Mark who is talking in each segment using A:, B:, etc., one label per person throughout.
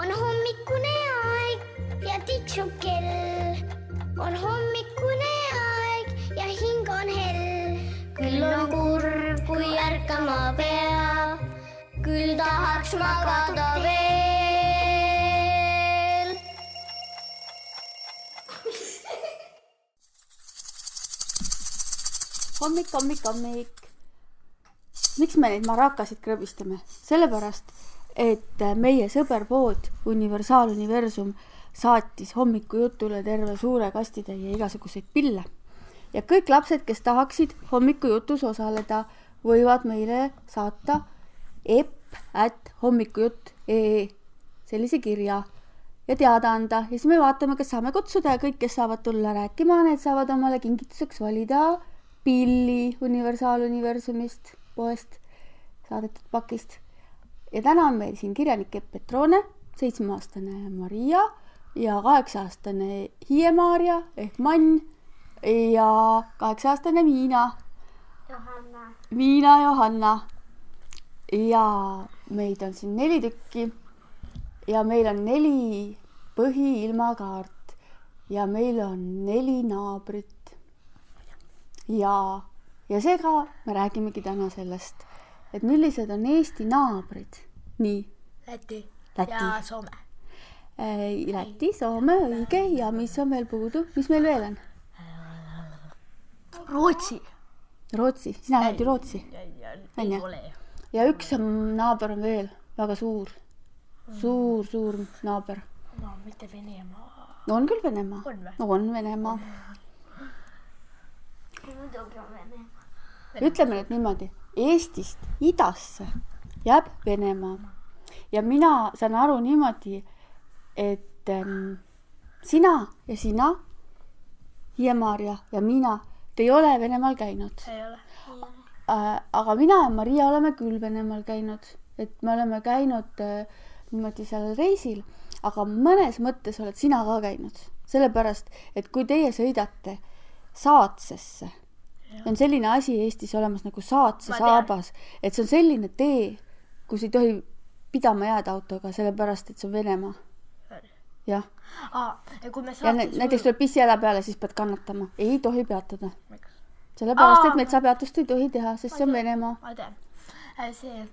A: on hommikune aeg ja tiksub kell . on hommikune aeg ja hing on hell . küll on kurb , kui ärkama peab , küll tahaks magada veel .
B: hommik , hommik , hommik . miks me neid marakasid krõbistame ? sellepärast , et äh, meie sõberpood Universaal Universum saatis hommikujutule terve suure kastitäie igasuguseid pille ja kõik lapsed , kes tahaksid hommikujutus osaleda , võivad meile saata epp at hommikujutt ee sellise kirja ja teada anda ja siis me vaatame , kas saame kutsuda ja kõik , kes saavad tulla rääkima , need saavad omale kingituseks valida pilli Universaaluniversumist poest saadetud pakist . ja täna on meil siin kirjanik Epp Petrone , seitsmeaastane Maria ja kaheksa-aastane Hiie-Maarja ehk Mann ja kaheksa-aastane Miina ,
A: Johanna ,
B: Miina Johanna . ja meid on siin neli tükki ja meil on neli põhiilmakaart ja meil on neli naabrit . ja , ja seega me räägimegi täna sellest , et millised on Eesti naabrid . nii ,
C: Läti,
B: Läti.
C: ja Soome .
B: äh, Läti , Soome , õige ja mis on veel puudu , mis meil veel on ?
C: Rootsi .
B: Rootsi , sina oled ju Rootsi On
C: ei
B: ju?
C: ole ju .
B: ja üks on naaber on veel väga suur , suur , suur naaber .
C: no mitte Venemaa .
B: no on küll Venemaa
C: On või? ,
B: on Venemaa ,
A: muidugi on vene .
B: ütleme nüüd niimoodi , Eestist idasse jääb Venemaa ja mina saan aru niimoodi , et ähm, sina ja sina , Hiie-Maarja ja mina , te ei ole Venemaal käinud
C: ei ole .
B: äh, , aga mina ja Maria oleme küll Venemaal käinud , et me oleme käinud äh, niimoodi seal reisil , aga mõnes mõttes oled sina ka käinud , sellepärast et kui teie sõidate Saatsesse , on selline asi Eestis olemas nagu Saatse
C: Ma tean.
B: saabas , et see on selline tee , kus ei tohi pidama jääda autoga , sellepärast et see on Venemaa . jah ,
C: aa , ja kui me
B: ja
C: saates
B: nä- näiteks tuleb pissihäda peale , siis pead kannatama , ei tohi peatada ,
C: tuleb .
B: sellepärast
C: Aa.
B: et metsapeatust ei tohi teha , sest see on Venemaa .
C: ma tean , see ,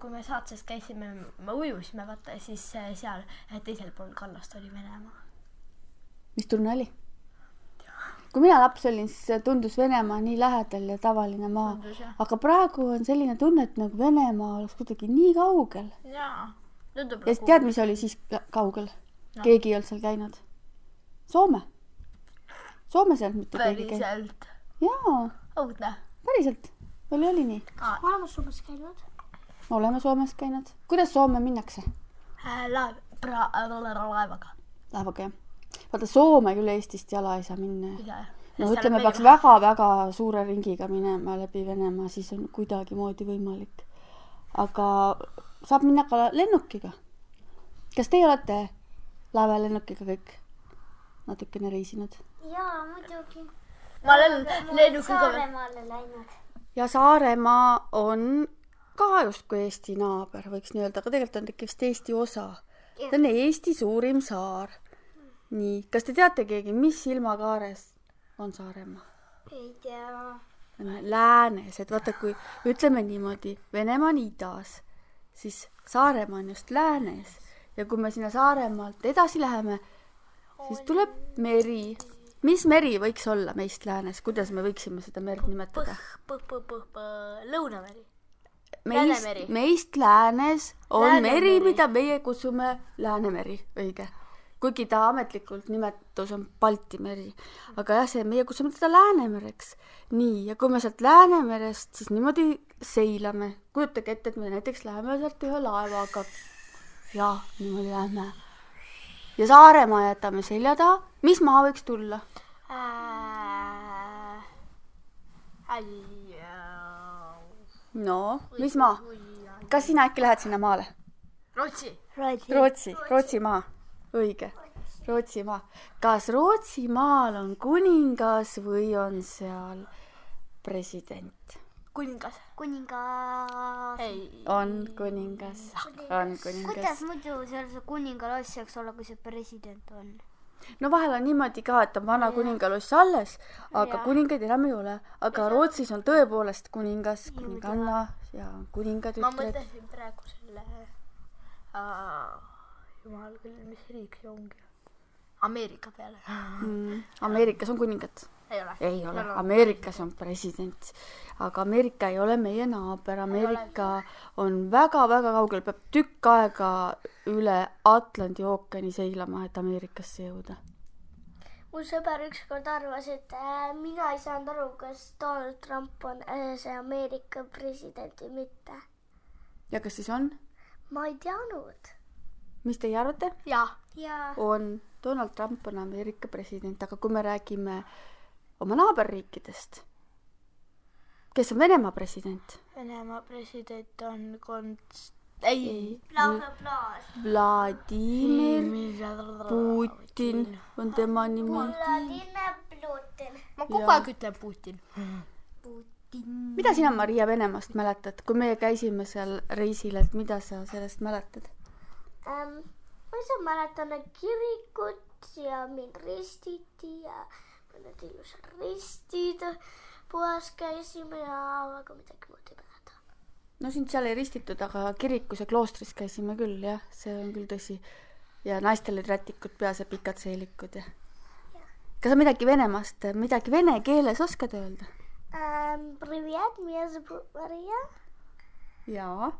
C: kui me saates käisime , me ujusime , vaata siis eh, seal eh, teisel pool kallast oli Venemaa .
B: mis tunne oli ? kui mina laps olin , siis tundus Venemaa nii lähedal ja tavaline maa
C: Tundus, jah. ,
B: aga praegu on selline tunne , et nagu Venemaa oleks kuidagi nii kaugel .
C: jaa , tundub nagu
B: ja siis tead , mis oli siis ka- kaugel no. ? keegi ei olnud seal käinud . Soome . Soomes ei olnud mitte keegi käinud .
C: päriselt
B: jaa ,
C: õudne .
B: päriselt . oli , oli nii .
A: oleme Soomes käinud .
B: oleme Soomes käinud . kuidas Soome minnakse ?
C: Äh, laev , laevaga .
B: laevaga , jah ? vaata , Soome küll Eestist jala ei saa minna ju no ütleme , peaks
C: väga .
B: väga-väga suure ringiga minema läbi Venemaa , siis on kuidagimoodi võimalik . aga saab minna ka lennukiga . kas teie olete laevalennukiga kõik natukene reisinud ?
A: jaa , muidugi .
C: ma olen lennukiga ,
A: Saaremaale läinud .
B: ja Saaremaa on ka justkui Eesti naaber , võiks nii öelda , aga tegelikult on ta ikka vist Eesti osa . ta on Eesti suurim saar . nii , kas te teate keegi , mis ilmakaares on Saaremaa ?
A: ei tea .
B: on läänes , et vaata , kui ütleme niimoodi , Venemaa on idas , siis Saaremaa on just läänes ja kui me sinna Saaremaalt edasi läheme , siis tuleb meri . mis meri võiks olla meist läänes , kuidas me võiksime seda merd nimetada ?
C: põh , põh , põh , põh , Lõunameri .
B: meist
C: Läänemeri. ,
B: meist läänes on
C: Läänemeri.
B: Läänemeri. meri , mida meie kutsume Läänemeri , õige . kuigi ta ametlikult nimetus on Balti meri , aga jah , see meie kutsume teda Läänemereks . nii , ja kui me sealt Läänemerest siis niimoodi seilame , kujutage ette , et me näiteks läheme sealt ühe laevaga ja niimoodi lähme . ja Saaremaa jätame selja taha , mis maa võiks tulla ?
C: Ah. eh.
B: no , mis maa ? kas sina äkki lähed sinna maale ?
C: Rootsi .
A: Rootsi .
B: Rootsi , Rootsimaa , õige , Rootsimaa . kas Rootsimaal on kuningas või on seal president ?
C: kuningas .
D: kuningas .
C: ei ,
B: on kuningas , on kuningas
D: kuidas . muidu seal see kuningaloss saaks olla , kui see president on ?
B: no vahel on niimoodi ka , et on vana kuningaloss alles , aga
D: Jah.
B: kuningaid enam ei ole . aga Rootsis on tõepoolest kuningas , kuninganna ja kuningad
C: ma
B: ütlevad .
C: mõtlesin praegu selle äh, , jumal küll , mis riik see ongi ? Ameerika peale .
B: Mm, Ameerikas on kuningad .
C: ei ole ?
B: ei ole , Ameerikas on president , aga Ameerika ei ole meie naaber , Ameerika on väga-väga kaugel , peab tükk aega üle Atlandi ookeani seilama , et Ameerikasse jõuda .
A: mu sõber ükskord arvas , et äh, mina ei saanud aru , kas Donald Trump on äh, see Ameerika president või mitte .
B: ja kas siis on ?
A: ma ei teadnud .
B: mis teie arvate ?
C: jah ,
A: ja
B: on , Donald Trump on Ameerika president , aga kui me räägime oma naaberriikidest , kes on Venemaa president ?
C: Venemaa president on konst- , ei .
A: laulab laas .
B: Vladimir Putin on tema nimi .
A: Vladimir Putin .
C: ma kogu aeg ütlen Putin .
B: mida sina , Maria , Venemaast mäletad , kui meie käisime seal reisil , et mida sa sellest mäletad ?
A: ähm, . ma ise mäletan et kirikut ja mind ristiti ja mõned ilusad ristid . poes käisime ja aga midagi muud ei mäleta .
B: no sind seal ei ristitud , aga kirikus ja kloostris käisime küll , jah , see on küll tõsi . ja naistel olid rätikud peas ja pikad seelikud ja . kas sa midagi Venemaast , midagi vene keeles oskad öelda ?
A: Ähm, Привет , меня зовут Мария .
B: jaa .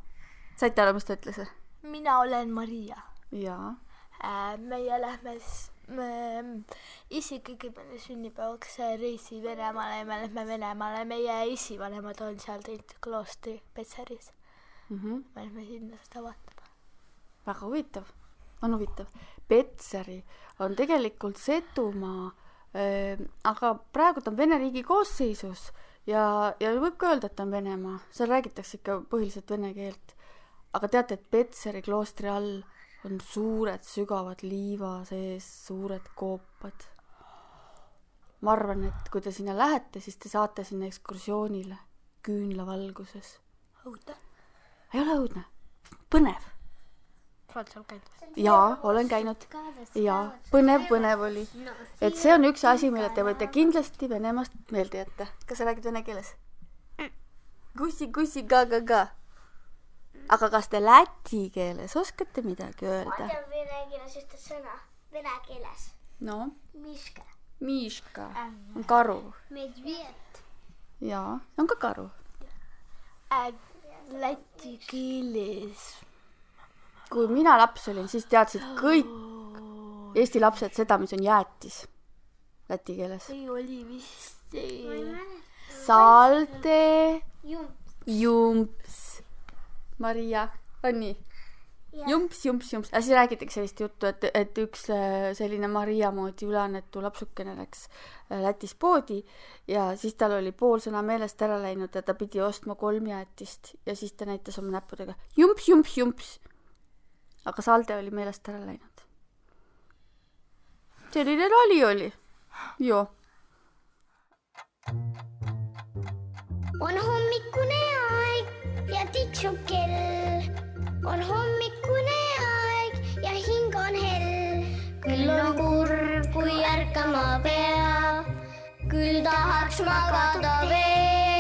B: saite aru , mis ta ütles või ?
C: mina olen Maria
B: jaa .
C: äh, . meie lähme s- me- isi kõigepealt sünnipäevaks reisi Venemaale ja me lähme Venemaale . meie esivanemad on seal teinud kloostri Petseris .
B: Mhm.
C: me lähme sinna seda vaatama .
B: väga huvitav , on huvitav . Petseri on tegelikult Setumaa , aga praegu ta on Vene riigi koosseisus ja , ja võib ka öelda , et ta on Venemaa , seal räägitakse ikka põhiliselt vene keelt . aga teate , et Petseri kloostri all on suured sügavad liiva sees suured koopad . ma arvan , et kui te sinna lähete , siis te saate sinna ekskursioonile küünlavalguses .
C: õudne .
B: ei ole õudne , põnev
C: sa oled seal käinud ?
B: jaa , olen käinud . jaa , põnev , põnev oli . et see on üks asi , mille te võite kindlasti Venemaast meelde jätta . kas sa räägid vene keeles ? kussi , kussi , ka , ka , ka . aga kas te läti keeles oskate midagi öelda ?
A: tean vene keeles ühte sõna , vene keeles .
B: no ,
A: Miška .
B: miška on karu
A: Medved .
B: jaa , on ka karu .
C: Läti keeles .
B: kui mina laps olin , siis teadsid kõik Eesti lapsed seda , mis on jäätis läti keeles .
C: ei oli vist ei .
B: salte
A: Jump .
B: jumps . Maria , on nii ? jumps , jumps , jumps , aga siis räägitakse sellist juttu , et , et üks äh, selline Maria moodi üleannetu lapsukene läks äh, Lätis poodi ja siis tal oli pool sõna meelest ära läinud ja ta pidi ostma kolm jäätist ja siis ta näitas oma näppudega jumps , jumps , jumps . aga salde oli meelest ära läinud . selline nali oli . joo
A: on hommikune aeg ja tiksub kell . on hommikune aeg ja hing on hell . küll on kurb , kui ärkama pea , küll tahaks magada veel .